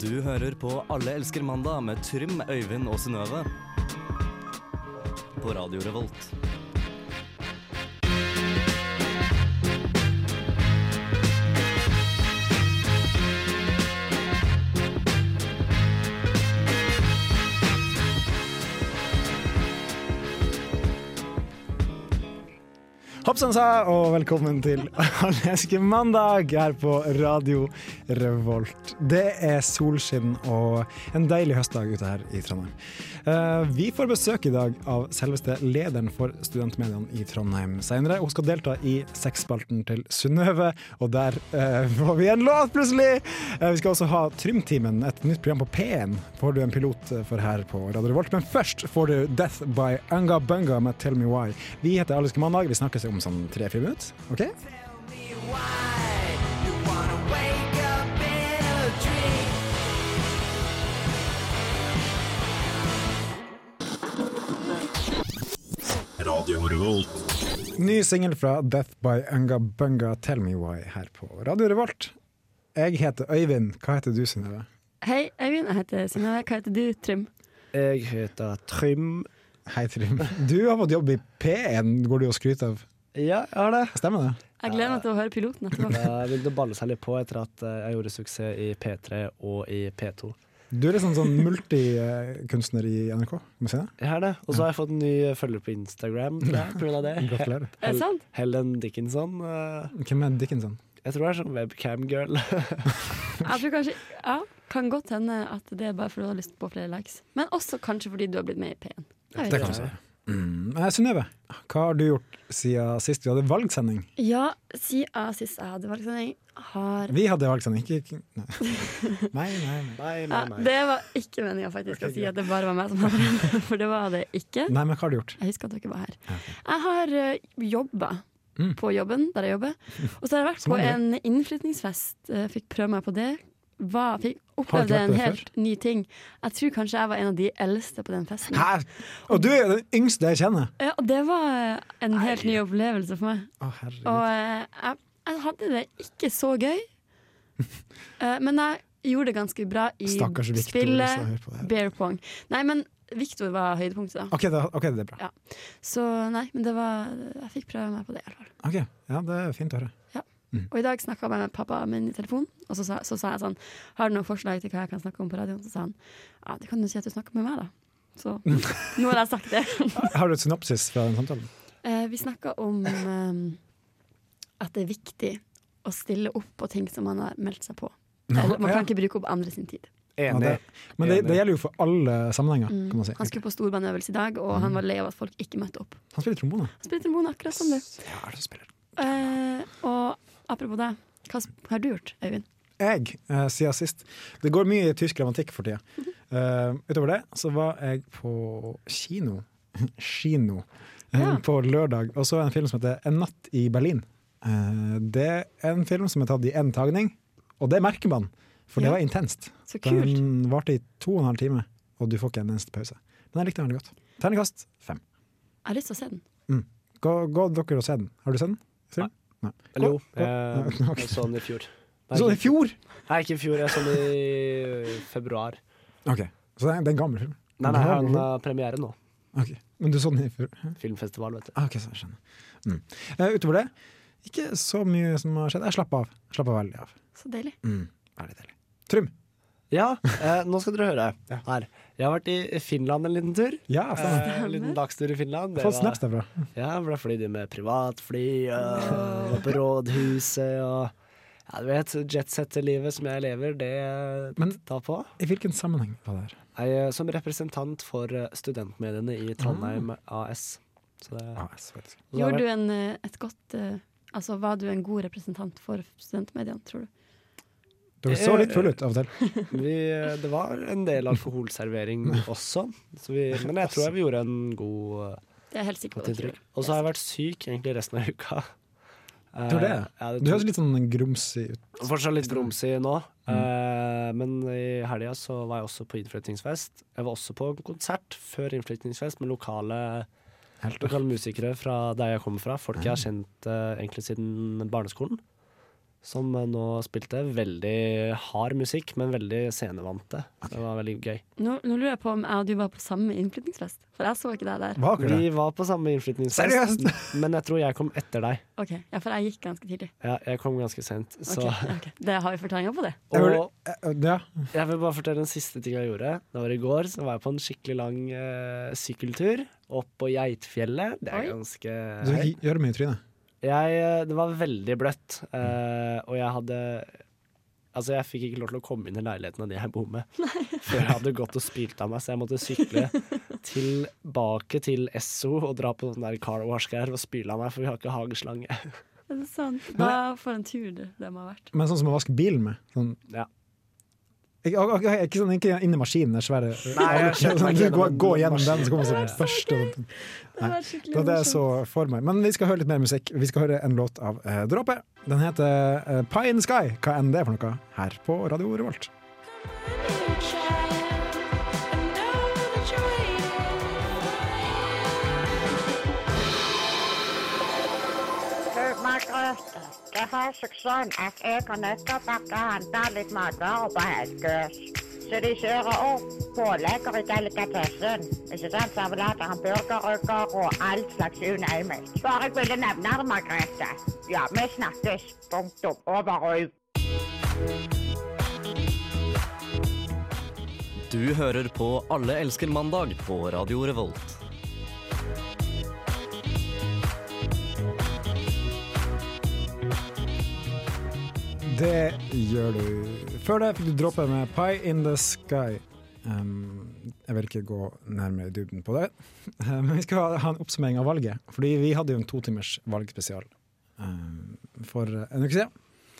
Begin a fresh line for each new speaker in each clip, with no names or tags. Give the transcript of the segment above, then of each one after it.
Du hører på Alle elsker mandag med Trym, Øyvind og Synnøve. På Radio Revolt.
Hoppsansa, og velkommen til Alleske mandag her på Radio Revolt. Det er solskinn og en deilig høstdag ute her i Trondheim. Eh, Vi får besøk i dag av selveste lederen for studentmediene i Trondheim senere. Hun skal delta i sexspalten til Synnøve, og der eh, får vi en låt plutselig! Eh, Vi skal også ha Trymtimen, et nytt program på P1. Får du en pilot eh, for her på Radio Revolt, men først får du Death by Anga Bunga med Tell Me Why. Vi heter Alice Mandag, vi snakkes om sånn tre-fire minutter. ok? Ny singel fra Death by Anga Bunga, Tell Me Why, her på Radio Revolt. Jeg heter Øyvind. Hva heter du, Synnøve?
Hei, Øyvind. Jeg heter Synnøve. Hva heter du, Trym?
Jeg heter Trym.
Hei, Trym. Du har fått jobb i P1, går du og skryter av.
Ja, jeg har det.
Stemmer det?
Jeg gleder meg til å høre piloten etterpå.
Jeg begynte å balle seg litt på etter at eh, jeg gjorde suksess i P3 og i P2.
Du er liksom sånn multikunstner i NRK, må jeg si det?
Jeg har det. Og så har jeg fått en ny følger på Instagram tror jeg, på grunn av det.
Gratulerer.
Er det sant?
Helen Dickinson. eh,
Hvem er Dickinson?
Jeg tror jeg er sånn webcam-girl.
Jeg tror kanskje Ja, kan godt hende at det er bare fordi du har lyst på flere likes. Men også kanskje fordi du har blitt med i P1. Jeg vet
Det
ikke.
kan du si. Mm. Eh, Synnøve, hva har du gjort siden sist vi hadde valgsending?
Ja, siden sist jeg hadde valgsending, har
Vi hadde valgsending, ikke Nei, nei. nei, nei.
Nei,
ja,
nei, nei.
Det var ikke meninga faktisk å si at det bare var meg som hadde den, for det var det ikke.
nei men hva har du gjort?
Jeg husker at dere var her. Jeg har uh, jobba
Mm.
på jobben der jeg jobber. Og så har jeg vært
Som
på en
vanlig.
innflytningsfest. eh, fikk prøve meg på det. Var, fikk
Har du vært
opplevde
på
en
det
helt ny ting. Jeg tror kanskje jeg var en av de eldste på den festen.
Hæ? Og du er jo den yngste jeg kjenner!
Ja, og det var eh, en helt ny opplevelse for meg.
Å, herregud.
Og eh, jeg, jeg hadde det ikke så gøy. Eh, men jeg gjorde det ganske bra i
Stakkars Victor, hvis han hører
spillet
på det her. Ah.
bear pong. Nei, men Victor var høydepunktet, da.
OK, da, ok, det er bra.
Ja. Så nei, men det var Jeg fikk prøve meg på det, i hvert fall.
Ok, Ja, det er fint å høre. Mm.
Og i dag snakka jeg med pappa min i telefon, og så sa, så sa jeg sånn Har du noen forslag til hva jeg kan snakke om på radioen? Så sa han ja, det kan du si at du snakker med meg, da. Så
Mm.
nå har jeg sagt det.
Har du et synopsis fra den samtalen?
Eh, Vi snakka om eh, at det er viktig å stille opp på ting som man har meldt seg på. Eller, man
Ja.
kan ikke bruke opp andre sin tid.
Ja,
Enig.
det, men det, det gjelder jo for alle sammenhenger, kan man si.
Han skulle på storbandøvelse i dag, og
Mm.
han var lei av at folk ikke møtte opp.
Han spiller trombone.
Han spilte trombone akkurat som du.
Ja, er det som spiller?
Eh, og apropos deg, hva sp- har du gjort, Øyvind?
Jeg, eh, siden sist Det går mye i tysk grammatikk for tida. Eh, utover det så var jeg på kino. kino. eh,
Ja.
På lørdag. Og så en film som heter 'En natt i Berlin'. Eh, det er en film som er tatt i én tagning, og det merker man, for det
Ja.
var intenst.
Så kult.
Den varte i to og en halv time, og du får ikke en eneste pause. Men jeg likte den veldig godt. Terningkast fem. Mm.
Jeg har lyst til å se den.
Gå, gå dere og se den. Har du sett den? Trym? Nei.
Eller jo,
Gå- gå-
jeg,
Nei, ok.
jeg så den i fjor. Nei,
Så i
ikke-
fjor!
Nei, ikke i fjor. Jeg så den i februar.
Ok, Så det er det er en gammel film?
Nei, nei, han har premiere nå.
Ok, Men du så den i fjor?
Filmfestival, vet du.
Ah, Ok, så jeg skjønner. Mm. Eh, utover det, ikke så mye som har skjedd. Jeg slapp av. Slapp av veldig av.
Så deilig.
Mm. Veldig deilig. Trym.
Ja, eh, nå skal dere høre. Her. Jeg har vært i Finland en liten tur.
Ja, stemmer.
Eh, en liten dagstur i Finland. Det
Få
var-
snaps derfra.
Ja, ble flydd inn med privatfly og på rådhuset og ja, du vet, jetsetterlivet som jeg lever, det
Men-
tar på.
I hvilken sammenheng var det her?
Jeg er som representant for eh, studentmediene i Trondheim AS. Så det,
Ah, jeg vet ikke.
Gjorde du en, eh, et godt eh, Altså, Var du en god representant for studentmediene, tror du?
Dere så litt fulle ut av og til.
vi, eh, det var en del alkoholservering også, så vi, men jeg tror jeg vi gjorde en god eh,
Det er jeg helt
godt
sikker på. at du
inntrykk.
gjorde.
Og så har jeg vært syk egentlig resten av uka. Eh,
Tror det.
ja, det
Du høres litt sånn grumsig ut.
Fortsatt litt grumsig nå,
Mm.
eh, men i helga så var jeg også på innflyttingsfest. Jeg var også på en konsert før innflyttingsfest med lokale,
Helt Mm.
lokale musikere fra der jeg kommer fra. Folk jeg har kjent eh, egentlig siden barneskolen. som eh, nå spilte veldig hard musikk, men veldig scenevante. Det var veldig gøy.
Nå, nå lurer jeg på om jeg og du var på samme innflytningsfest, for jeg så ikke deg der.
Var dere det?
Vi var på samme innflytningsfest,
Seriøst?
men jeg tror jeg kom etter deg.
Ok, ja, For jeg gikk ganske tidlig.
Ja, jeg kom ganske sent.
Ok,
Så.
ja, ok. Det har vi fortellinger på, det.
Jeg vil-
Og
Eh, Ja.
jeg vil bare fortelle den siste ting jeg gjorde. Det var i går. Så var jeg på en skikkelig lang eh, sykkeltur opp på Geitfjellet. Det er
Oi.
ganske
Du gjør det mye i trynet.
jeg, eh, Det var veldig bløtt, eh, og jeg hadde Altså, jeg fikk ikke lov til å komme inn i leiligheten av de jeg bor med, før jeg hadde gått og spilt av meg, så jeg måtte sykle tilbake til Esso og dra på sånn der car wash-greier og spyle av meg, for vi har ikke hageslange.
Er det sant? Da, for en tur det, det må ha vært.
Men sånn som å vaske bilen med. Sånn.
Ja.
Ikke, ok, ok, ikke, sånn, ikke inn i maskinen, det svære.
jeg skjønner meg
du
ikke
går,
gjennom
går gjennom den, så kommer sånn første
Det har vært skikkelig
Det var det jeg så
morsomt.
for meg. Men vi skal høre litt mer musikk. Vi skal høre en låt av eh, Dråpe. Den heter eh, Pie in the Sky, hva enn det er for noe, her på Radio Revolt.
Spør meg grøt. Det har seg sånn at jeg og Nøtterbakke handler litt matvarer på Helgøs. Så de kjører opp pålegger i delikatessen. Ikke sant, servelater, hamburgerrygger og all slags unøymel. Bare jeg ville nevne det, Margrethe. Ja, vi snakkes. Punktum. Over og ut.
Du hører på Alle elsker mandag på Radio Revolt.
Det gjør du. Før det fikk du droppe med Pie in the Sky. Um, jeg vil ikke gå nærmere i dybden på det, Eh, men vi skal ha- ha en oppsummering av valget. Fordi vi hadde jo en totimers valgspesial um, for en uke siden.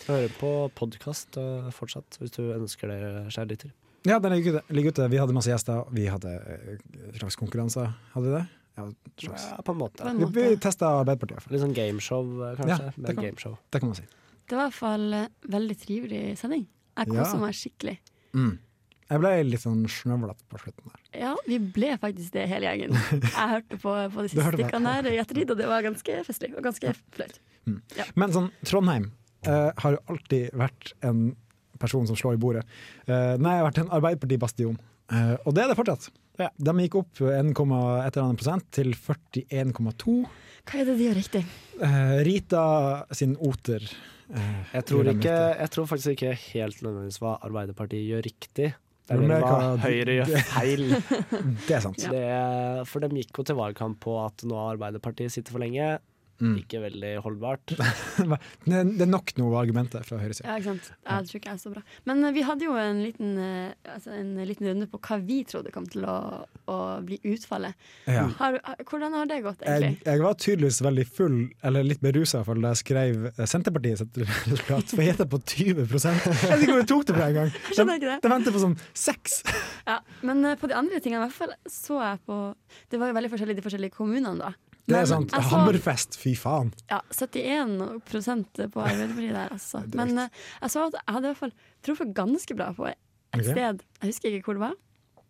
Hører på podkast fortsatt, hvis du ønsker det, kjære lytter.
Ja, den ligger ute. ligger ute. Vi hadde masse gjester, vi hadde eh, slags konkurranser. Hadde vi det? Ja, slags.
Ja, på en
På
måte.
en
Vi, vi
måte.
testa Arbeiderpartiet, i hvert fall.
Litt sånn gameshow, eh,
Ja,
kanskje.
det
Mer
kan-
gameshow.
det kan man si.
Det var i hvert fall eh, veldig trivelig sending. Jeg
Ja.
kosa meg skikkelig.
Mm. Jeg ble litt sånn snøvlete på slutten der.
Ja, vi ble faktisk det hele gjengen. Jeg hørte på, på de
Du
siste
hørte på.
stykkene der i ettertid, og det var ganske festlig og ganske flaut.
Men sånn, Trondheim eh, har jo alltid vært en person som slår i bordet. Eh, nei, har vært en Arbeiderparti-bastion. Eh, og det er det fortsatt.
Ja.
De gikk opp 1,1 prosent til 41,2.
Hva er det de gjør riktig?
Eh, Rita sin oter. eh,
Jeg tror,
gjør dem
ikke,
riktig.
jeg tror faktisk ikke helt nødvendigvis hva Arbeiderpartiet gjør riktig. Det er
Men
mer
det
hva
kan-
Høyre gjør feil.
Det er sant.
Ja.
Det, for de gikk jo til valgkamp på at nå har Arbeiderpartiet sittet for lenge.
Mm.
Ikke veldig holdbart.
Det er- det er nok noe argumenter fra høyresida.
Ja, ikke sant. Jeg tror ikke jeg er så bra. Men eh, vi hadde jo en liten, eh, altså en liten runde på hva vi trodde kom til å, å bli utfallet.
Ja.
Har, har- hvordan har det gått,
Jeg,
egentlig?
jeg var tydeligvis veldig full, eller litt berusa, da jeg skrev eh, Senterpartiet sitt resultat. For jeg gjettet på 20 Jeg vet ikke hvor jeg tok det fra engang.
Jeg
De,
skjønner ikke det.
de venter på sånn seks!
Ja, men eh, på de andre tingene i hvert fall så jeg på Det var jo veldig forskjellig i de forskjellige kommunene, da.
Det
Men
er sant.
jeg så-
Hammerfest, fy faen.
Ja, 71 på Arbeiderpartiet der, altså. Men eh, jeg så at jeg hadde i hvert fall truffet ganske bra på et
Ok.
sted. Jeg husker ikke hvor det var,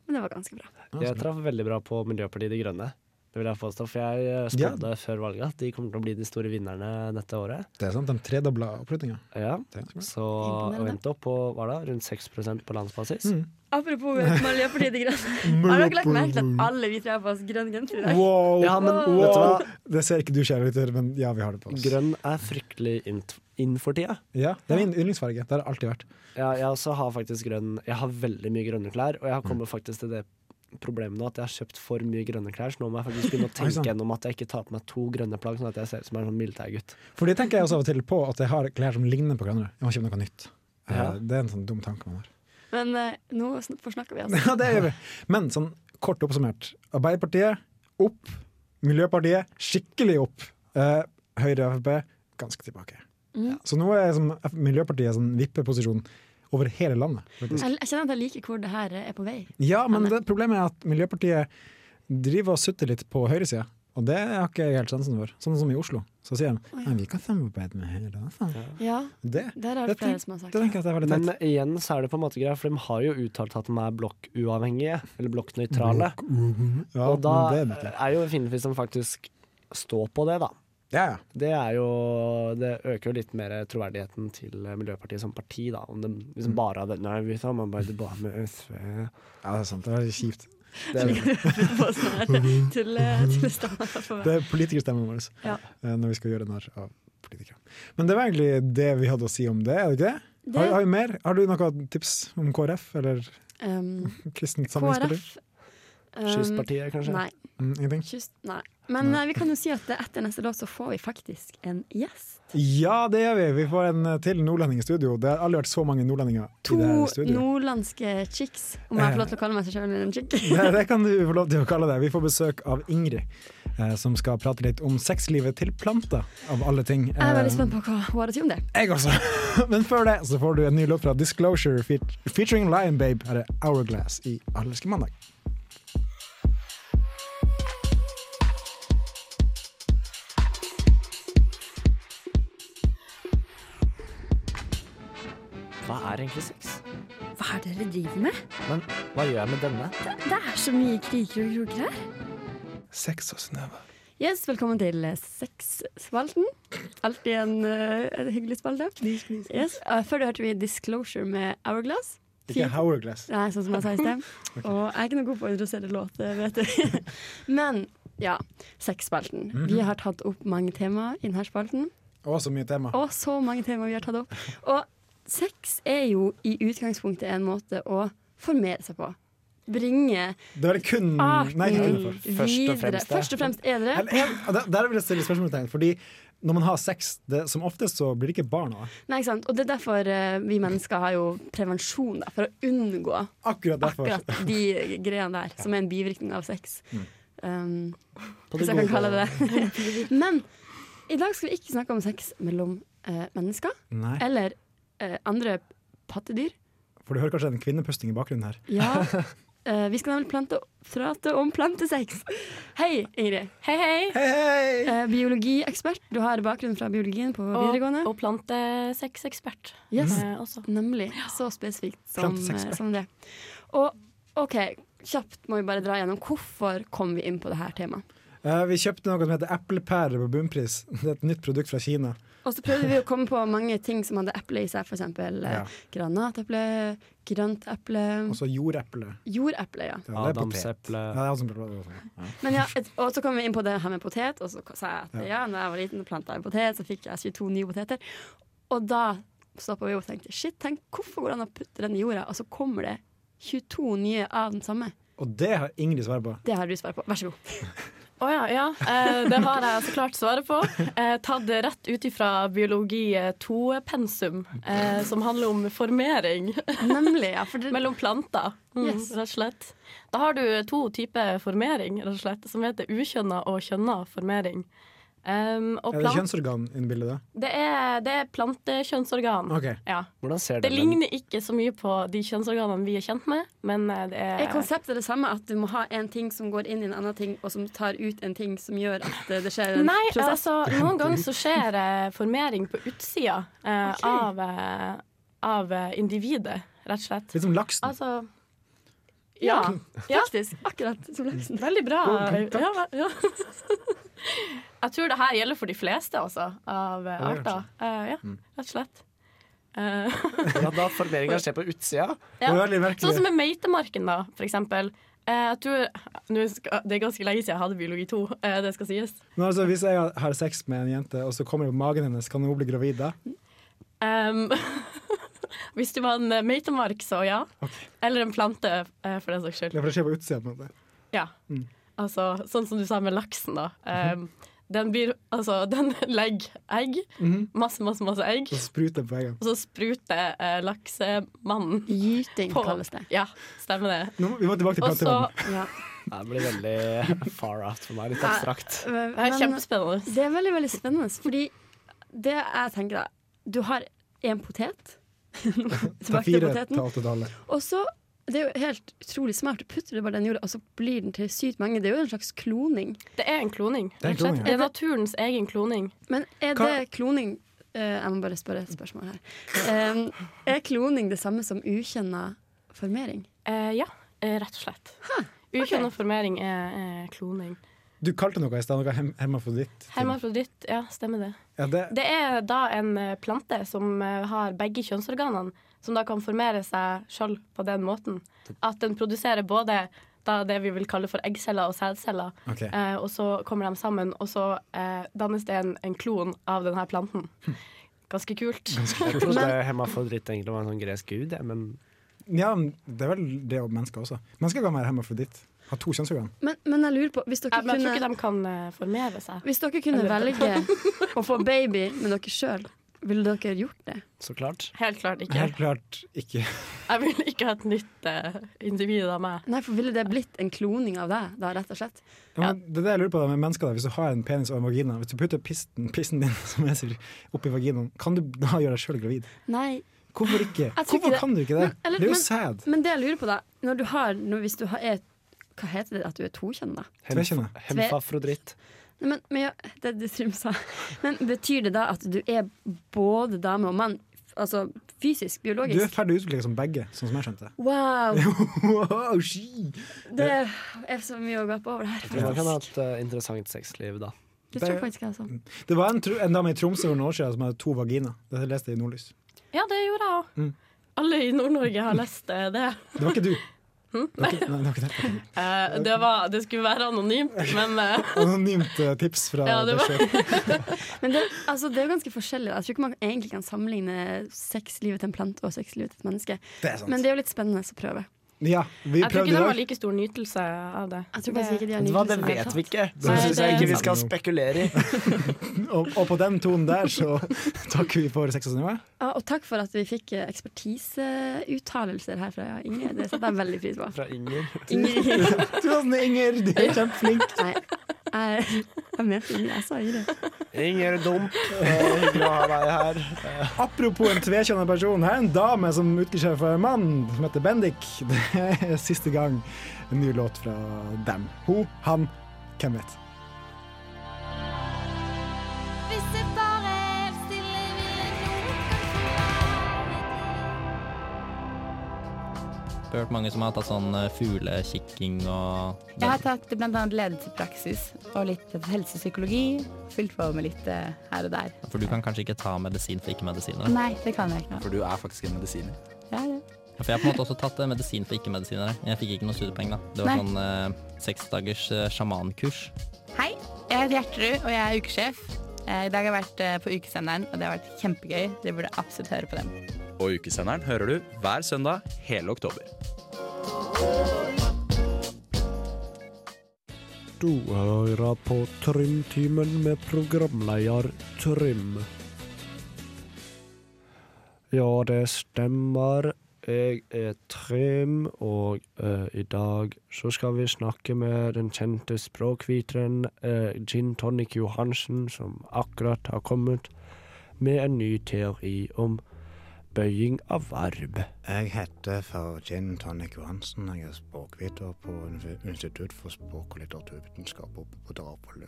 men det var ganske bra.
sånn.
Jeg traff veldig bra på Miljøpartiet De Grønne. Det vil jeg påstå, for jeg eh, spådde før valget at de kommer til å bli de store vinnerne dette året.
Det er sant, de tredobla oppryttinga.
Ja,
Det er
Så og endte opp på hva da, rundt 6 på landsbasis.
Mm.
Apropos Miljøpartiet De Grønne. Har dere lagt merke til at alle vi tre har på oss grønn genser i dag?
Wow!
Ja, men
Vet
vet
du
du
hva? Det ser ikke du, kjære lytter, men ja, vi har det på oss.
Grønn er fryktelig inn, inn for tida.
Ja, det er min yndlingsfarge. Det har det alltid vært.
Ja, jeg også har faktisk grønn Jeg har veldig mye grønne klær, og jeg har kommet faktisk til det problemet nå at jeg har kjøpt for mye grønne klær, så nå må jeg faktisk begynne å
Oi, sånn. sant.
tenke gjennom at jeg ikke tar på meg to grønne plagg, sånn at jeg ser ut som en sånn militærgutt.
For det tenker jeg også av og til på, at jeg har klær som ligner på hverandre. Jeg må kjøpe noe nytt. Eh,
Ja.
Det er en sånn dum tanke man har.
Men eh, nå sn- forsnakker vi altså. oss.
Ja, det gjør vi. Men sånn kort oppsummert. Arbeiderpartiet opp. Miljøpartiet skikkelig opp. Eh, Høyre og Frp ganske tilbake.
Mm.
Så nå er sånn, F- Miljøpartiet sånn vippeposisjon over hele landet. faktisk.
Jeg, jeg kjenner at jeg liker hvor det her eh, er på vei.
Ja, men det, problemet er at Miljøpartiet driver og sutter litt på høyresida. Og det har ikke jeg helt sansen for. Sånn som i Oslo. Så sier de
Oi.
at vi kan samarbeide med Høyre. Altså.
Ja,
Det,
der har
det,
det flere
tenk-
som
det
har sagt.
tenker jeg at det er veldig
Men
teit.
igjen så er det på en måte greia, for de har jo uttalt at de er blokkuavhengige, eller blokknøytrale.
Ja,
og da
men det er
er jo fint hvis de faktisk står på det, da.
Ja, ja.
Det, er jo, det øker jo litt mer troverdigheten til Miljøpartiet som parti, da. Om de
Mm.
liksom bare hadde Nei, vi samarbeider bare med SV.
ja, det er sant. Det er kjipt.
Det,
På sånn her eh, tulle- tullestemmer for meg.
Det er politikerstemmen vår
Ja.
eh, når vi skal gjøre narr av politikere. Men det var egentlig det vi hadde å si om det, er det ikke det?
Det-
Har, har, vi mer? har du noen tips om KrF eller
Um,
Kristent Samlingsparti?
KrF um,
Kystpartiet, kanskje?
Nei.
Mm, ingenting?
Kyst, nei. Men eh, vi kan jo si at eh, etter neste låt så får vi faktisk en gjest.
Ja, det gjør vi. Vi får en eh, til nordlending i studio. Det har aldri vært så mange nordlendinger
To
i det her studioet.
nordlandske chicks, om jeg får lov til å kalle meg selv en chick.
Det, det kan du få lov til å kalle det. Vi får besøk av Ingrid, eh, som skal prate litt om sexlivet til planter, av alle ting. Eh,
Jeg er veldig spent på hva What a Tune det er.
Jeg også. Men før det så får du en ny låt fra Disclosure feat featuring Lion Babe. Her er Hourglass i Allerske mandag.
Hva er egentlig sex?
Hva er det dere driver med?
Men hva gjør jeg med denne?
Det er så mye kriker og kroker her.
Sex og snøve.
Yes, velkommen til eh, sexspalten. Alltid en, eh, en hyggelig spalte. Yes. eh, Før det hørte vi Disclosure med Hourglass.
Ikke Hourglass.
Nei, sånn som jeg sa i sted. Og jeg er ikke noe god på å introdusere låter, vet du. Men ja, sexspalten.
Mhm.
Vi har tatt opp mange temaer i denne spalten.
Å, så mye tema.
Og så mange temaer vi har tatt opp. Og sex er jo i utgangspunktet en måte å formere seg på. Bringe
Det er vel kun
arten
Nei, ikke alle for.
Først og
ah, videre.
fremst Mm. det.
Først og fremst er det
Eller,
det.
jeg- Der der vil jeg stille spørsmålstegn, fordi når man har sex, det, som oftest så blir det ikke barn av det.
Nei, ikke sant? Og det er derfor eh, vi mennesker har jo prevensjon, da, for å unngå
Akkurat derfor.
akkurat de greiene der, som er en bivirkning av sex. Um,
På
hvis jeg kan kalle det det. Men i dag skal vi ikke snakke om sex mellom eh, mennesker
Nei,
eller eh, andre pattedyr.
for du hører kanskje en kvinnepusting i bakgrunnen her.
Ja, eh, vi skal nemlig plante, prate om plantesex. Hei, Ingrid.
Hei, hei.
Hei!
Eh, biologiekspert. Du har bakgrunn fra biologien på videregående.
Og, og plantesexekspert
Yes,
eh, også.
Nemlig. Så spesifikt som,
Plantesex.
eh, som det. Og OK, kjapt må vi bare dra gjennom. Hvorfor kom vi inn på det her temaet?
Eh, vi kjøpte noe som heter eplepære på bunnpris. Det er et nytt produkt fra Kina.
Og så prøvde vi å komme på mange ting som hadde eple i seg, f.eks.
Ja.
Ja. granateple, grønt eple,
Og så jordeple.
jordeple. ja.
Ja, det er potet.
Adamseple.
Ja, det er også en potet. Ja.
Men ja, et, og så kom vi inn på det her med potet, og så sa jeg at ja, når jeg var liten og planta en potet, så fikk jeg 22 nye poteter. Og da stoppa vi opp og tenkte shit, tenk, hvorfor går det an å putte den i jorda, og så kommer det 22 nye av den samme?
Og det har Ingrid svar på.
Det har du svar på. Vær så god.
Å ja, ja. Eh, det har jeg så klart svaret på. Eh, tatt rett ut ifra biologi 2-pensum, eh, som handler om formering
Nemlig. Ja, for det,
mellom planter, mm,
Yes.
rett og slett. Da har du to typer formering, rett og slett, som heter ukjønna og kjønna formering. Em, og
Er det
plant,
kjønnsorgan inni bildet? da?
det, er, det er plantekjønnsorgan.
Ok.
Ja.
Hvordan ser
Det
den-
ligner ikke så mye på de kjønnsorganene vi er kjent med, men eh, det
er
er
konseptet det samme, at du må ha en ting som går inn i en annen ting, og som tar ut en ting som gjør at eh, det skjer en
Nei,
prosess?
altså, noen ganger så skjer eh, formering på utsida eh,
Ok.
av, eh, av eh, individet, rett og slett.
Litt som laksen.
Altså
Ja,
Ja.
faktisk. Mm, Akkurat som laksen.
Veldig bra. Ja, ja. Jeg tror det her gjelder for de fleste, altså, av eh,
Ja, det Mm. gjør
arter. Eh, ja, rett og slett. Eh,
Ja, da formeringa skjer på utsida.
ja.
Det var veldig merkelig.
Sånn som med meitemarken, da, for eksempel. Eh, jeg tror, nå skal, det er ganske lenge siden jeg hadde biologi 2, eh, det skal sies.
Men altså, hvis jeg har sex med en jente, og så kommer det på magen hennes, kan hun bli gravid da?
Ehm, hvis du var en eh, meitemark, så ja. Eller en plante, eh, for den saks
Ja, Mm.
skyld.
for det skjer på utsida. på en måte.
Ja. Altså, sånn som du sa med laksen, da.
Mhm.
Ehm, den blir Altså, den legger egg.
Mhm.
Masse, masse, masse egg.
Så spruter det på veggen.
Og så spruter eh, laksemannen
Gyting
på.
kalles det.
Ja, stemmer det.
Nå, må- vi må tilbake til
Og så
plantevann.
Ja.
Det blir veldig far out for meg. Litt abstrakt.
Det er
Eh, Men,
kjempespennende.
Det er veldig, veldig spennende, fordi det jeg tenker da Du har én potet.
Ta
Tilbake til
fire til
poteten.
åtte dollar.
Og så Det er jo helt utrolig smart. Du putter det bare i den jorda, og så blir den til sykt mange. Det er jo en slags kloning.
Det er en kloning.
er en
rett og slett.
kloning, ja.
Det er naturens egen kloning.
Men er
Hva-
det kloning eh, Jeg må bare spørre et spørsmål her. Em, er kloning det samme som ukjenna formering?
Eh, ja, eh, rett og slett. Ukjønnet formering er, er kloning.
Du kalte noe i stad noe hem hermafroditt.
Hermafroditt, ja, stemmer det.
Ja, det,
Det er da en eh, plante som eh, har begge kjønnsorganene, som da kan formere seg sjøl på den måten. At den produserer både da det vi vil kalle for eggceller og sædceller,
Ok.
eh, og så kommer de sammen, og så eh, dannes det en, en klon av denne planten. Hm. Ganske kult.
Jeg trodde hemafrodritt egentlig var en sånn gresk gud, jeg, men
ja, men det er vel det og mennesker også. Mennesker kan være hermafroditt. Ha to kjønnsorgan.
Men, men jeg lurer på, hvis dere
Eh, Men jeg
kunne,
tror ikke de kan eh, formere seg.
hvis dere kunne velge å få baby med dere sjøl, ville dere gjort det?
så klart.
Helt klart ikke.
Helt klart ikke.
Jeg vil ikke ha et nytt eh, individ av meg.
Nei, for ville det blitt en kloning av deg, da, rett og slett?
Ja, men det er det jeg lurer på da, med mennesker. Da. Hvis du har en penis og en vagina, hvis du putter pisten, pissen din som jeg sier, oppi vaginaen, kan du da gjøre deg sjøl gravid?
Nei.
Hvorfor ikke?
Jeg tror ikke
Hvorfor
det.
kan du ikke det?
Men- eller-
det er
men- Mm.
jo sæd.
Men det jeg lurer på, da, når du har, når, hvis du har er, Hva heter det at du er tokjønna?
Tvekjønne.
Hemfafrodritt.
Nei, men, men, ja, det, det Trym sa. men betyr det da at du er både dame og mann? Altså fysisk,
Du er
biologisk?
ferdig utvikla som begge, sånn som jeg skjønte.
Wow!
wow, she.
Det er så mye å gape over her.
Men Man kan ha
faktisk.
et eh, interessant sexliv, da.
Det tror jeg faktisk jeg sånn. sa.
Det var en, tro- en dame i Tromsø for noen år siden som hadde to vaginaer. Dette leste jeg i Nordlys.
Ja, det gjorde jeg òg. Alle i Nord-Norge har lest eh, det.
Det var ikke du.
Hm?
Det var ikke, nei, det var ikke det.
Eh, det, var, det skulle være anonymt, men eh,
Anonymt eh, tips fra
Ja, det
deg
var-
selv.
Men det, altså, det er jo ganske forskjellig. da. Jeg tror ikke man egentlig kan sammenligne sexlivet til en plante og sexlivet til et menneske.
Det er sant.
Men det er jo litt spennende å prøve.
Ja, vi
Jeg tror
prøvde
ikke
i
det var
dag.
like stor nytelse av det.
Jeg tror faktisk ikke de har
Hva, det
nytelse.
vet vi ikke, så
Nei,
jeg syns jeg
det-
ikke vi skal spekulere i.
Og, og på den tonen der så takker vi for Sex og Snøhvit.
Ja, og takk for at vi fikk eh, ekspertiseuttalelser her fra Ingrid. Det setter jeg veldig pris på.
Fra Inger.
Ingrid.
Tusen Inger, du er kjempeflink.
Nei, jeg, jeg mente Ingrid. Jeg sa Ingrid.
Inger Dump, eh, hyggelig å ha deg her.
Apropos en tvekjønnet person. Her er en dame som utgir seg for en mann som heter Bendik. Det er siste gang en ny låt fra dem. Hun, han, hvem vet.
Hvis jeg bare helt stille ville noen gang få
hørt mange som har tatt sånn eh, fuglekikking og
Jeg har tatt bl.a. ledelsepraksis og litt helsepsykologi. Fylt på med litt eh, her og der.
For du kan kanskje ikke ta medisin for ikke-medisinere?
Nei, det kan jeg ikke.
For du er faktisk en medisiner.
Jeg er det.
For jeg har på en måte også tatt eh, medisin for ikke-medisinere. Jeg fikk ikke noe studiepoeng, da. Det var
Nei.
sånn eh, seksdagers eh, sjamankurs.
Hei, jeg heter Gjertrud, og jeg er ukesjef. Eh, I dag har jeg vært eh, på Ukesenderen, og det har vært kjempegøy. Dere burde absolutt høre på dem.
Og Ukesenderen hører du hver søndag hele oktober.
Du hører på Trym-timen med programleder Trym. Ja, det stemmer. Jeg er Trym, og eh, i dag så skal vi snakke med den kjente språkviteren eh, Gin Tonic Johansen, som akkurat har kommet med en ny teori om bøying av verb.
Jeg heter for Gin Tonic Johansen. Jeg er språkviter på Institutt for språk og litteraturvitenskap oppe på Dragvoll.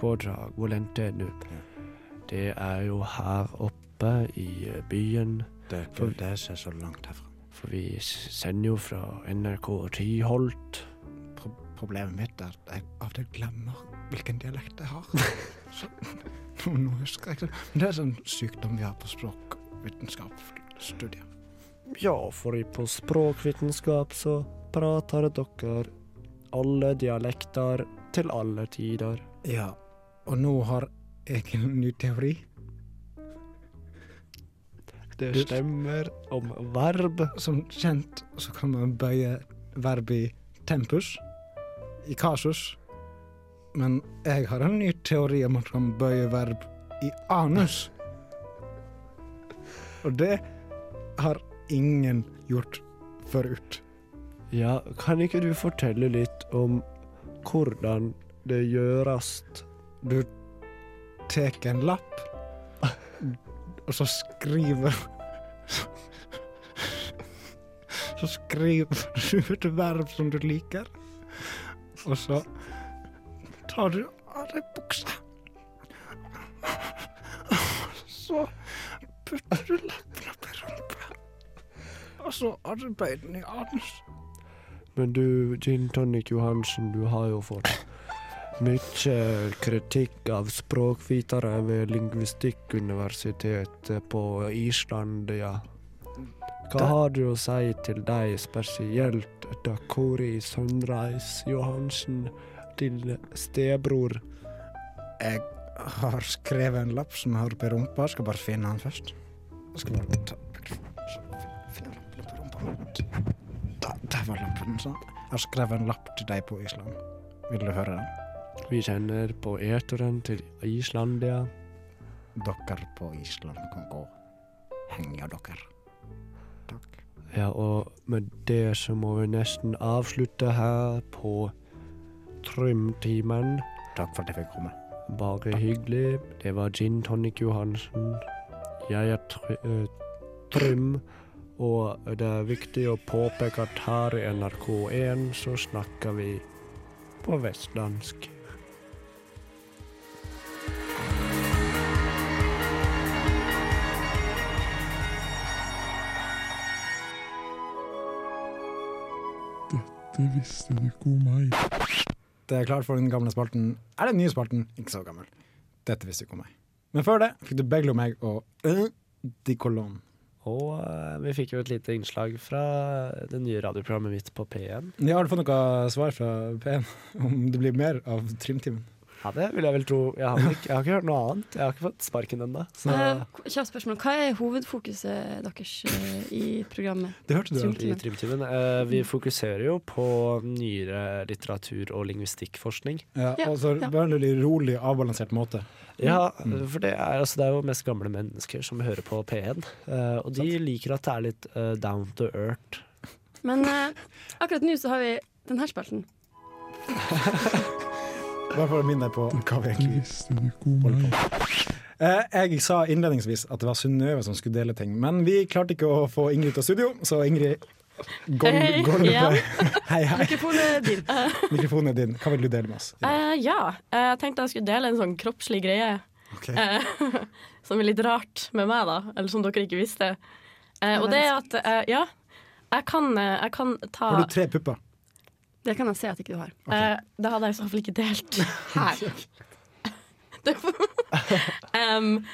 på dragvoll.no. Det er jo her oppe i eh, byen,
Det er
ikke
det som er så langt herfra.
for vi s- sender jo fra NRK Tyholt.
Problemet mitt er at jeg av og til glemmer hvilken dialekt jeg har. Så, nå husker jeg ikke det. Men det er sånn sykdom vi har på språkvitenskapsstudiet.
Ja, for i- på språkvitenskap så prater dere alle dialekter til alle tider.
Ja, og nå har jeg en ny teori
Det stemmer om verb.
Som kjent så kan man bøye verb i tempus, i kasus, men jeg har en ny teori om at man kan bøye verb i anus. Og det har ingen gjort forut.
Ja, kan ikke du fortelle litt om hvordan det gjøres?
Du tar en lapp, og så skriver Så skriver du et verb som du liker, og så tar du av deg buksa. Så putter du lappen oppi rumpa, og så har du bøyd den i anus.
Men du, Gin Tonic Johansen, du har jo fått
Mykje kritikk av språkvitere ved lingvistikkuniversitetet på Island, ja. Hva har du å si til deg, spesielt da Kori Sunrise Johansen, din stebror?
Jeg har skrevet en lapp som jeg har oppi rumpa. Skal bare finne den først. Skal bare ta Finne lappen oppi rumpa. Da- Der var lappen. Sånn. Jeg har skrevet en lapp til deg på Island. Vil du høre den?
Vi kjenner på eteren til Islandia.
Dere på Island kan gå. Henger dere.
Ja, og med det så må vi nesten avslutte her på Trymtimen.
Takk for at jeg fikk komme.
Bare hyggelig. Det var Gin Tonic Johansen. Jeg er tr eh, Trym. Og det er viktig å påpeke at her i NRK1 så snakker vi på vestlandsk.
Dette visste du ikke om meg. Det er klart for den gamle spalten. Er den nye spalten ikke så gammel? Dette visste du ikke om meg. Men før det fikk du Beglo meg og øh, Di Colon.
Og eh, vi fikk jo et lite innslag fra det nye radioprogrammet mitt på P1.
Ja, har du fått noe svar fra P1 om det blir mer av trimtimen?
Ja, det vil jeg vel tro. Jeg har, vel ikke, jeg har ikke hørt noe annet. Jeg har ikke fått sparken ennå. så-
Eh, Kjapt spørsmål. Hva er hovedfokuset deres eh, i programmet?
I
Trimtimen.
Trimtimen. Eh, vi fokuserer jo på nyere litteratur- og lingvistikkforskning.
Ja,
Ja,
og så
ja.
på en veldig rolig, avbalansert måte.
Ja,
Mm.
for det er, altså, det er jo mest gamle mennesker som hører på P1, eh, og de liker at det er litt eh, down to earth.
Men eh, akkurat nå så har vi denne spalten.
Bare for å minne deg på hva vi egentlig holder på med. Jeg sa innledningsvis at det var Synnøve som skulle dele ting, men vi klarte ikke å få Ingrid til studio, så Ingrid gol-
Hei,
golvet
igjen.
Hei, hei.
Mikrofonen er din.
Mikrofonen er din. Hva vil du dele med oss?
Eh, ja, eh, jeg tenkte jeg skulle dele en sånn kroppslig greie.
Ok.
Eh, som er litt rart med meg, da. Eller som dere ikke visste. Eh, og det er at eh, ja, jeg kan, eh, jeg kan ta
Har du tre pupper?
Det kan jeg se at ikke du har.
Eh, det hadde jeg i så fall ikke delt her. Det får- Em,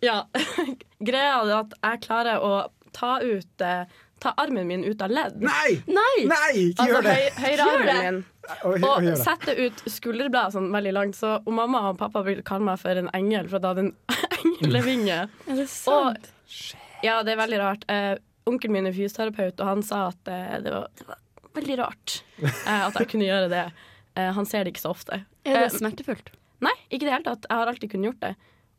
ja, greia er at jeg klarer å ta ut eh, Ta armen min ut av ledd.
Nei!
Nei!
Nei, ikke
altså,
gjør det!
høy- høyre
Ikke gjør det!
armen min.
Og- og
Og
gjør det.
sette ut skulderbladet sånn veldig langt. Så og mamma og pappa vil kalle meg for en engel, for at jeg hadde en englevinge.
Er det
sant? Og, ja, det er veldig rart. Eh, Onkelen min er fysioterapeut, og han sa at eh, det, var, det var veldig rart eh, at jeg kunne gjøre det. Eh, han ser det ikke så ofte.
Er det
Eh,
smertefullt?
Nei, ikke i det hele tatt. Jeg har alltid kunnet gjort det.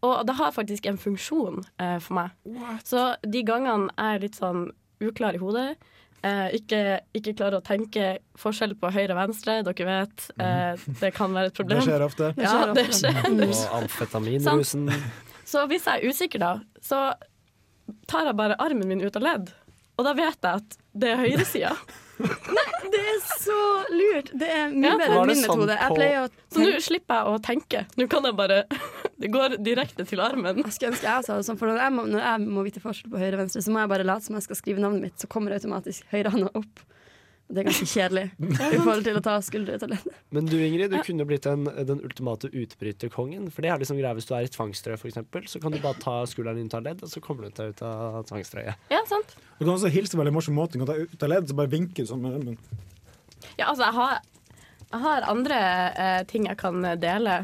Og det har faktisk en funksjon eh, for meg. Så de gangene jeg er litt sånn uklar i hodet, eh, ikke, ikke klarer å tenke forskjell på høyre og venstre, dere vet, eh, det kan være et
Mm.
problem.
Det skjer Mm. ofte.
Ja, det skjer.
Og amfetaminrusen.
Så hvis jeg er usikker da, så tar jeg bare armen min ut av ledd. Og da vet jeg at det er høyresida.
Det er så lurt! Det sånn er mye
Ja.
bedre enn min metode. Jeg pleier å
Så nå slipper jeg å tenke. Nå kan jeg bare Det går direkte til armen.
Jeg skulle ønske jeg sa det sånn, for når jeg, må, når jeg må vite forskjell på høyre og venstre, så må jeg bare late som jeg skal skrive navnet mitt, så kommer automatisk høyrehånda opp. Og det er ganske kjedelig i forhold til å ta skuldre ut av ledd.
Men du Ingrid, du kunne blitt den, den ultimate utbryterkongen. For det er liksom greia hvis du er i et tvangstrøye, for eksempel, så kan du bare ta skulderen din ut av ledd, og så kommer du deg ut av tvangstrøyet.
Ja, sant?
Du kan også hilse på en veldig morsom måte. Du kan ta ut av ledd, så bare vinke du sånn med armen.
Ja, altså, jeg har, jeg har andre eh, ting jeg kan dele.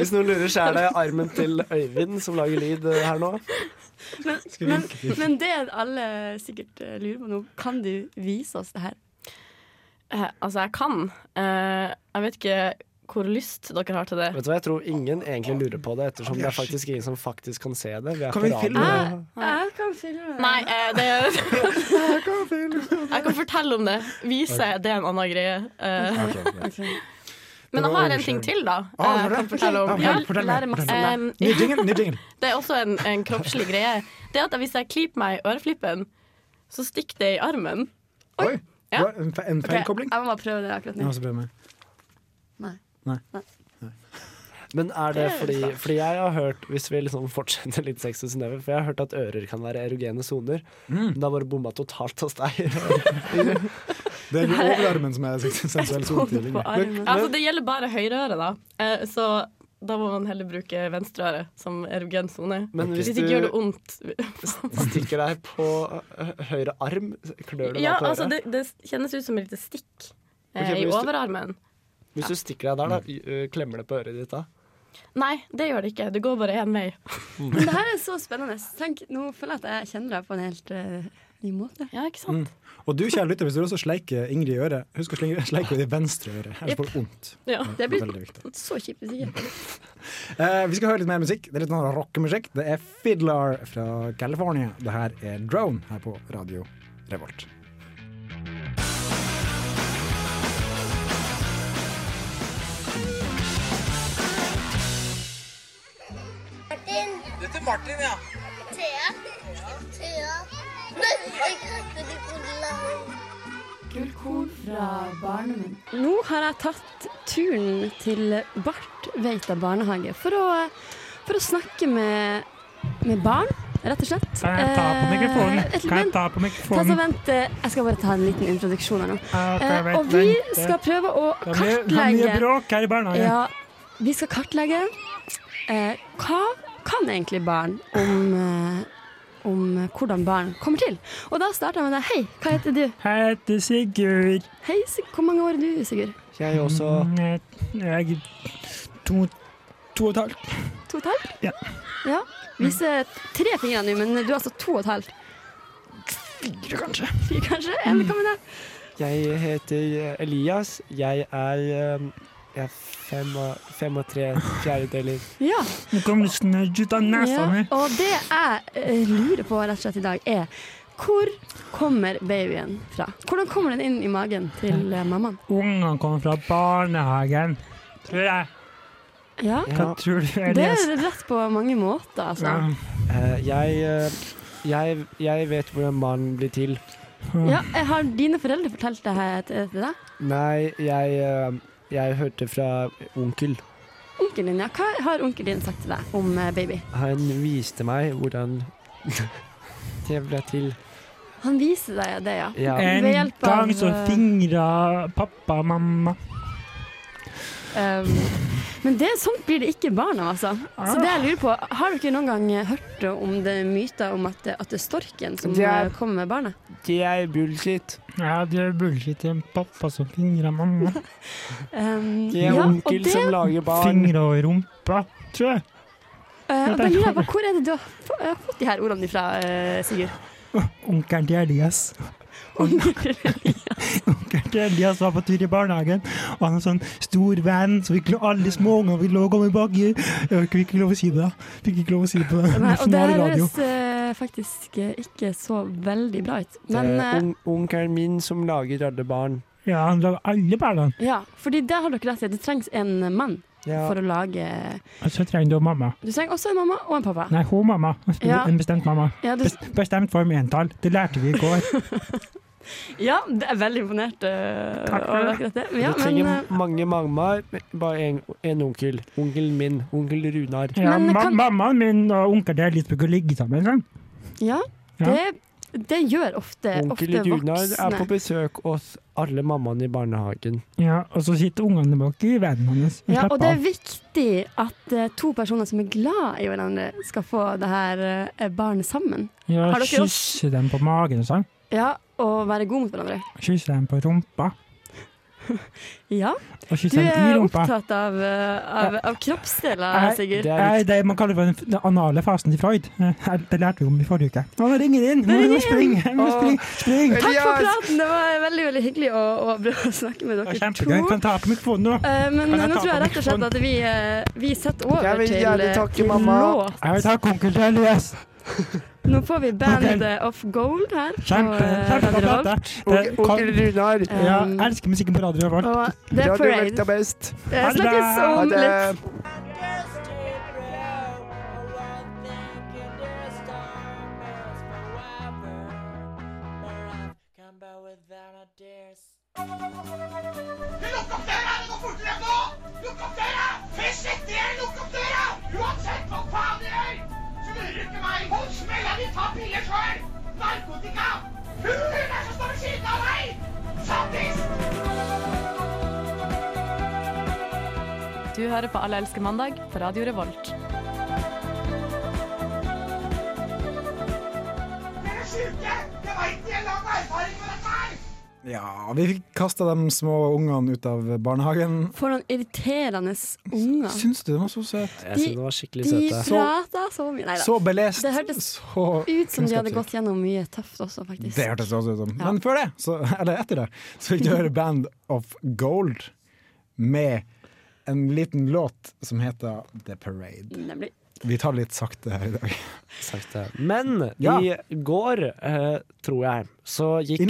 Hvis noen lurer, så er det armen til Øyvind som lager lyd eh, her nå.
Men, men, men det alle sikkert eh, lurer på nå, kan du vise oss det her?
Eh, altså, jeg kan. Eh, jeg vet ikke hvor lyst dere har til det.
Vet du hva, Jeg tror ingen egentlig lurer på det, ettersom det er faktisk ingen som faktisk kan se det. Vi er
Kan
på
vi
radio.
filme
Ah,
det?
Jeg kan filme det.
Nei, eh, det Jeg kan fortelle om det. Vise,
Ok.
det er en annen greie. Eh,
Ok, greit.
Men
Det
jeg
var
har en ting
overkjøring.
til, da.
Ah,
eh,
har du
kan
det?
fortelle
Ja,
om.
fortell- fortell meg, fortell meg.
Em,
Ny jingle, ny jingle.
Det er også en, en kroppslig greie. Det er at hvis jeg klyper meg i øreflippen, så stikker det i armen.
Det var En, fe- en feilkobling.
jeg må bare prøve det akkurat
Jeg må
nå.
også prøve meg.
Men er det
Det er
fordi,
klart.
fordi jeg har hørt, hvis vi liksom fortsetter litt sex og Synnøve, for jeg har hørt Mm. at ører kan være erogene soner. Men det har bare bomma totalt hos deg.
Det er jo overarmen som er sånn sensuell solstilling.
Altså, det gjelder bare høyreøret, da. Eh, så da må man heller bruke venstreøret som erogen sone.
Men
Hvis
hvis
ikke gjør
du-
det vondt.
Stikker deg på ø, høyre arm, klør det deg
Ja,
på
altså,
øret.
det, det kjennes ut som et lite stikk eh,
Ok, men
i
hvis du-
overarmen.
Hvis du stikker deg der, da, ø, klemmer det på øret ditt da?
Nei, det gjør det ikke. Det går bare én vei.
Men det her er så spennende. Tenk, nå føler jeg at jeg kjenner deg på en helt eh, ny måte.
Ja, ikke
Mm. Og du, kjære lytter, hvis du også sleiker Ingrid i øret, husk å slenge- sleike henne i venstre øre. Ellers får du vondt.
Det blir
Veldig viktig.
så kjipt hvis ikke.
Eh, vi skal høre litt mer musikk. Det er litt sånn rockemusikk. Det er Fiddler fra California. Det her er Drone her på Radio Revolt.
Martin. Dette er Martin, ja. Thea. Thea. Nei, jeg heter Nicolai.
Gullkorn fra barnemunn. Nå har jeg tatt turen til Bart Veita barnehage for å, for å snakke med, med barn, rett og slett.
Kan jeg ta på
Eh,
mikrofonen?
et-
Kan jeg
vent,
ta
ta
på
så
mikrofonen?
vent, eh, jeg skal bare ta en liten introduksjon her nå.
ok,
Eh,
vent,
og vi
vent.
skal prøve å
Det blir det er mye
kartlegge
bråk her i barnehagen.
Ja, vi skal kartlegge eh, hva kan egentlig barn om, eh, om hvordan barn kommer til. Og da starter jeg med deg. Hei, hva heter du?
Jeg heter Sigurd.
Hei, Sig- hvor mange år er du, Sigurd?
Jeg også.
Mm.
Jeg er to, to og et halvt.
To og et halvt? Ja. Viser tre fingre nå, men du er altså to og et halvt. Fire, kanskje. Fire, kanskje? En, hva med deg?
Jeg heter ø, Elias. Jeg er, ø, jeg er fem, og, fem og tre fjerdedeler.
Ja.
Nå kom lysten ut av nesa mi.
Ja, og det jeg eh, lurer på rett og slett i dag, er hvor kommer babyen fra? Hvordan kommer den inn i magen til eh, mammaen?
Ungene kommer fra barnehagen, tror jeg.
Ja.
Hva tror du,
Det
Elias?
er rett på mange måter, altså.
Eh, jeg, ø, jeg, jeg vet hvordan mannen blir til.
Ja, jeg har dine foreldre fortalt det her til til deg?
Nei, jeg, ø, jeg hørte fra onkel.
Onkelen din, ja. Hva har onkelen din sagt til deg om eh, baby?
Han viste meg hvordan det ble til.
Han viser deg det, ja.
Ja.
En
Ved hjelp av
gang så
eh,
fingra pappa og mamma.
Um, men det, sånt blir det ikke barn av, altså. Så det jeg lurer på, Har dere noen gang hørt om det myter om at, at det er storken som
Det er-
eh, kommer med barnet?
Det er bullshit.
Ja, det er bullshit. Det er pappa som fingrer mamma.
Um,
Det er
ja, og
onkel
det,
som
lager
barn. Fingre og rumpa, tror jeg.
eh, og da lurer jeg på, Hvor er det du har få- eh, fått de her ordene fra, eh, Sigurd?
Onkelen til Elias. Onkelen til Elias var på tur i barnehagen, og han er sånn stor venn, så fikk lo- alle småungene fikk lov å komme bak i. Jeg fikk ikke lov å si det, da. Fikk ikke lov å si det på
Nei, og det
nasjonal
her
radio.
høres eh, faktisk eh, ikke så veldig bra ut.
Det
Men
er
eh,
on onkelen min som lager alle barn.
Ja, han lager alle barna.
ja, fordi det har dere rett i. Det trengs en mann
Ja.
for å lage
Og så trenger du mamma.
Du trenger også en mamma og en pappa.
Nei, hun mamma.
Ja.
En bestemt mamma.
Ja, du-
Bes- Bestemt form entall. Det lærte vi i går.
Ja, det er veldig imponert eh, over akkurat det. Men Ja,
du
men,
trenger
eh,
mange mammaer, men bare en, en onkel. Onkelen min. Onkel Runar.
Ja, ma Mammaen min og onkelen til Elias bruker å ligge sammen. Sånn.
Ja,
Ja.
Det, det gjør ofte,
Onkel
ofte
Runar er på
voksne.
besøk hos alle mammaene i barnehagen.
Ja, og så sitter ungene bak i vennen hans.
Ja, og det er viktig at eh, to personer som er glad i hverandre, skal få det her eh, barnet sammen.
Ja,
Har dere
kysse dem på magen og sånn.
Ja, og være god mot hverandre.
Kysse dem på rumpa.
Ja.
Og kysse
Du
dem i
er
rumpa.
opptatt av, eh, av, av kroppsdeler,
Nei,
Sigurd.
Nei, det man kaller for den, den anale fasen til Freud. Eh, Det lærte vi om i forrige uke. Nå ringer det inn! Nå må springe! Spring! spring.
Takk for praten, det var veldig veldig hyggelig å, å snakke med
Det var
dere
Kjempegøy.
to.
Kan ta på mikrofonen nå.
Eh, Men
Kan jeg
nå
ta
tror jeg
på
rett og slett
mikrofonen?
at vi, eh, vi setter over
Jeg vil
til,
gjerne
eh,
takke
til
mamma.
låt.
Jeg vil takke onkel til Elias.
Nå får vi bandet Off Gold her. på,
Kjempe,
eh,
kjempe
Radio Revolt.
Onkel
Runar.
Ja, jeg elsker musikken på Radio Revolt.
Og det Eh, er Radio Parade. Revolt er
best.
Eh, snakkes om litt.
Lukk opp døra! Det går fortere nå! Lukk opp døra! Først etter jeg lukk opp døra! Uansett hva faen jeg gjør, så lurer du ikke meg. Hold smella di, ta piller sjøl! Narkotika! Fugler der som står ved siden av deg! Zombie!
Du hører på Alle elsker mandag på Radio Revolt.
Dere er sjuke! Jeg veit de har lang erfaring med dette her!
Ja, vi fikk kasta de små ungene ut av barnehagen.
For noen irriterende unger.
Syns du de var så søte?
Jeg synes det var skikkelig
De
søte.
prata så mye. Neida.
så belest,
Det hørtes
så
ut som de hadde
kunnskapsrik.
gått gjennom mye tøft også, faktisk.
Det hørtes også ut som.
Ja.
Men før det, så, eller etter det, så fikk du høre Band of Gold med en liten låt som heter The Parade.
Nemlig.
Vi tar det litt sakte her i dag.
Sakte. Men
Ja.
i går, eh, tror jeg, så gikk I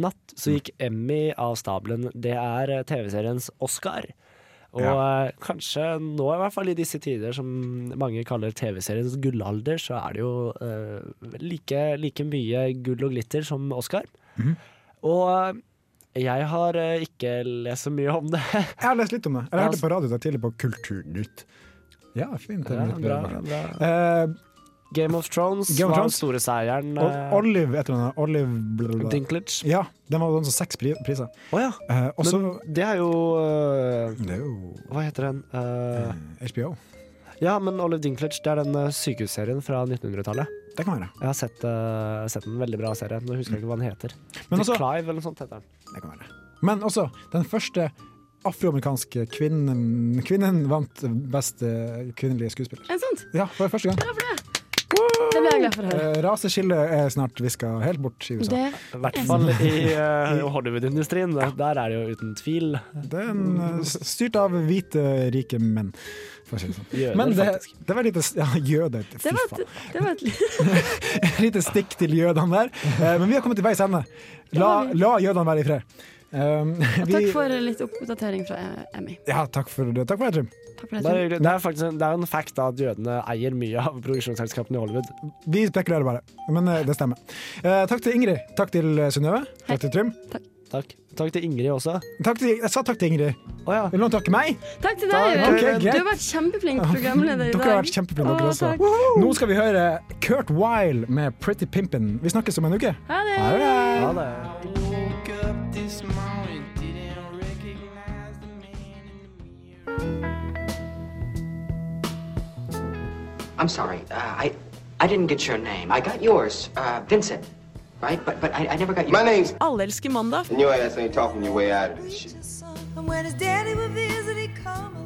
natt.
så gikk Emmy av stabelen. Det er eh, TV-seriens Oscar. Og
Ja.
eh, kanskje nå, i hvert fall i disse tider som mange kaller TV-seriens gullalder, så er det jo eh, like, like mye gull og glitter som Oscar.
Mhm.
Og eh, jeg har eh, ikke lest så mye om det.
Jeg har lest litt om det. Eller jeg hørte
Altså-
på radio i dag tidlig på Kulturnytt. Ja, fint. det er
Ja,
litt
bra,
bedre.
bra. Game of Thrones
Game
var
of
den
Thrones.
store seieren.
Og
eh,
Olive, et eller annet. Olive blablabla.
Dinklage.
Ja, den var den som seks pri- priser.
Å ja.
Eh, og så
men det er jo eh, Hva heter den? Eh,
HBO.
Ja, men Olive Dinklage, det er den eh, sykehusserien fra 1900-tallet.
Det kan være.
Jeg har sett, eh, sett den veldig bra serie, men jeg husker ikke hva den heter.
Men altså-
Men
også-
Clive eller noe sånt heter den.
Det kan være. Men også, den første afroamerikanske kvinnen, kvinnen vant beste kvinnelige skuespiller.
Er det sant?
Ja, for første gang.
Det ble jeg glad for å høre.
Eh, Raseskillet er snart viska helt bort i USA.
Det-
I hvert fall i eh, Hollywood-industrien. Der er det jo uten tvil.
Den eh, s- styrt av hvite, rike menn, for å si det sånn.
Jøder,
Men det, det var et lite s- Ja, jøder. Fy
Det var
faen.
et, det var et
Et lite stikk til jødene der. Eh, Men vi har kommet til veis ende. La, la jødene være i fred. Um,
Og takk for litt oppdatering fra eh, Emmy.
Ja, takk for det. Takk for det, Trym.
Takk
Det
for det.
er, det er faktisk en, det er en fact da, at jødene eier mye av produksjonsselskapene i Hollywood.
Vi spekulerer bare, men eh, det stemmer. Eh, takk til Ingrid. Takk til eh, Synnøve. Takk til Trym.
Takk. Takk til Ingrid også.
Takk til, jeg sa takk til Ingrid.
Vil
noen takke meg?
Takk til
Da-
deg. Jørgen.
Ok, greit.
du har vært kjempeflink programleder i dag.
Dere har vært kjempeflinke, dere
Å,
også.
takk.
Nå skal vi høre Kurt Wile med 'Pretty Pimpin'. Vi snakkes om en uke.
Ha det.
Ha det.
I'm sorry. Uh, I I didn't get your name. I got yours, uh, Vincent, right? But but I, I never got your
My name's-
Alle elsker mandag.
And your ass ain't talking your way out of this shit.
And when his daddy would visit, he'd come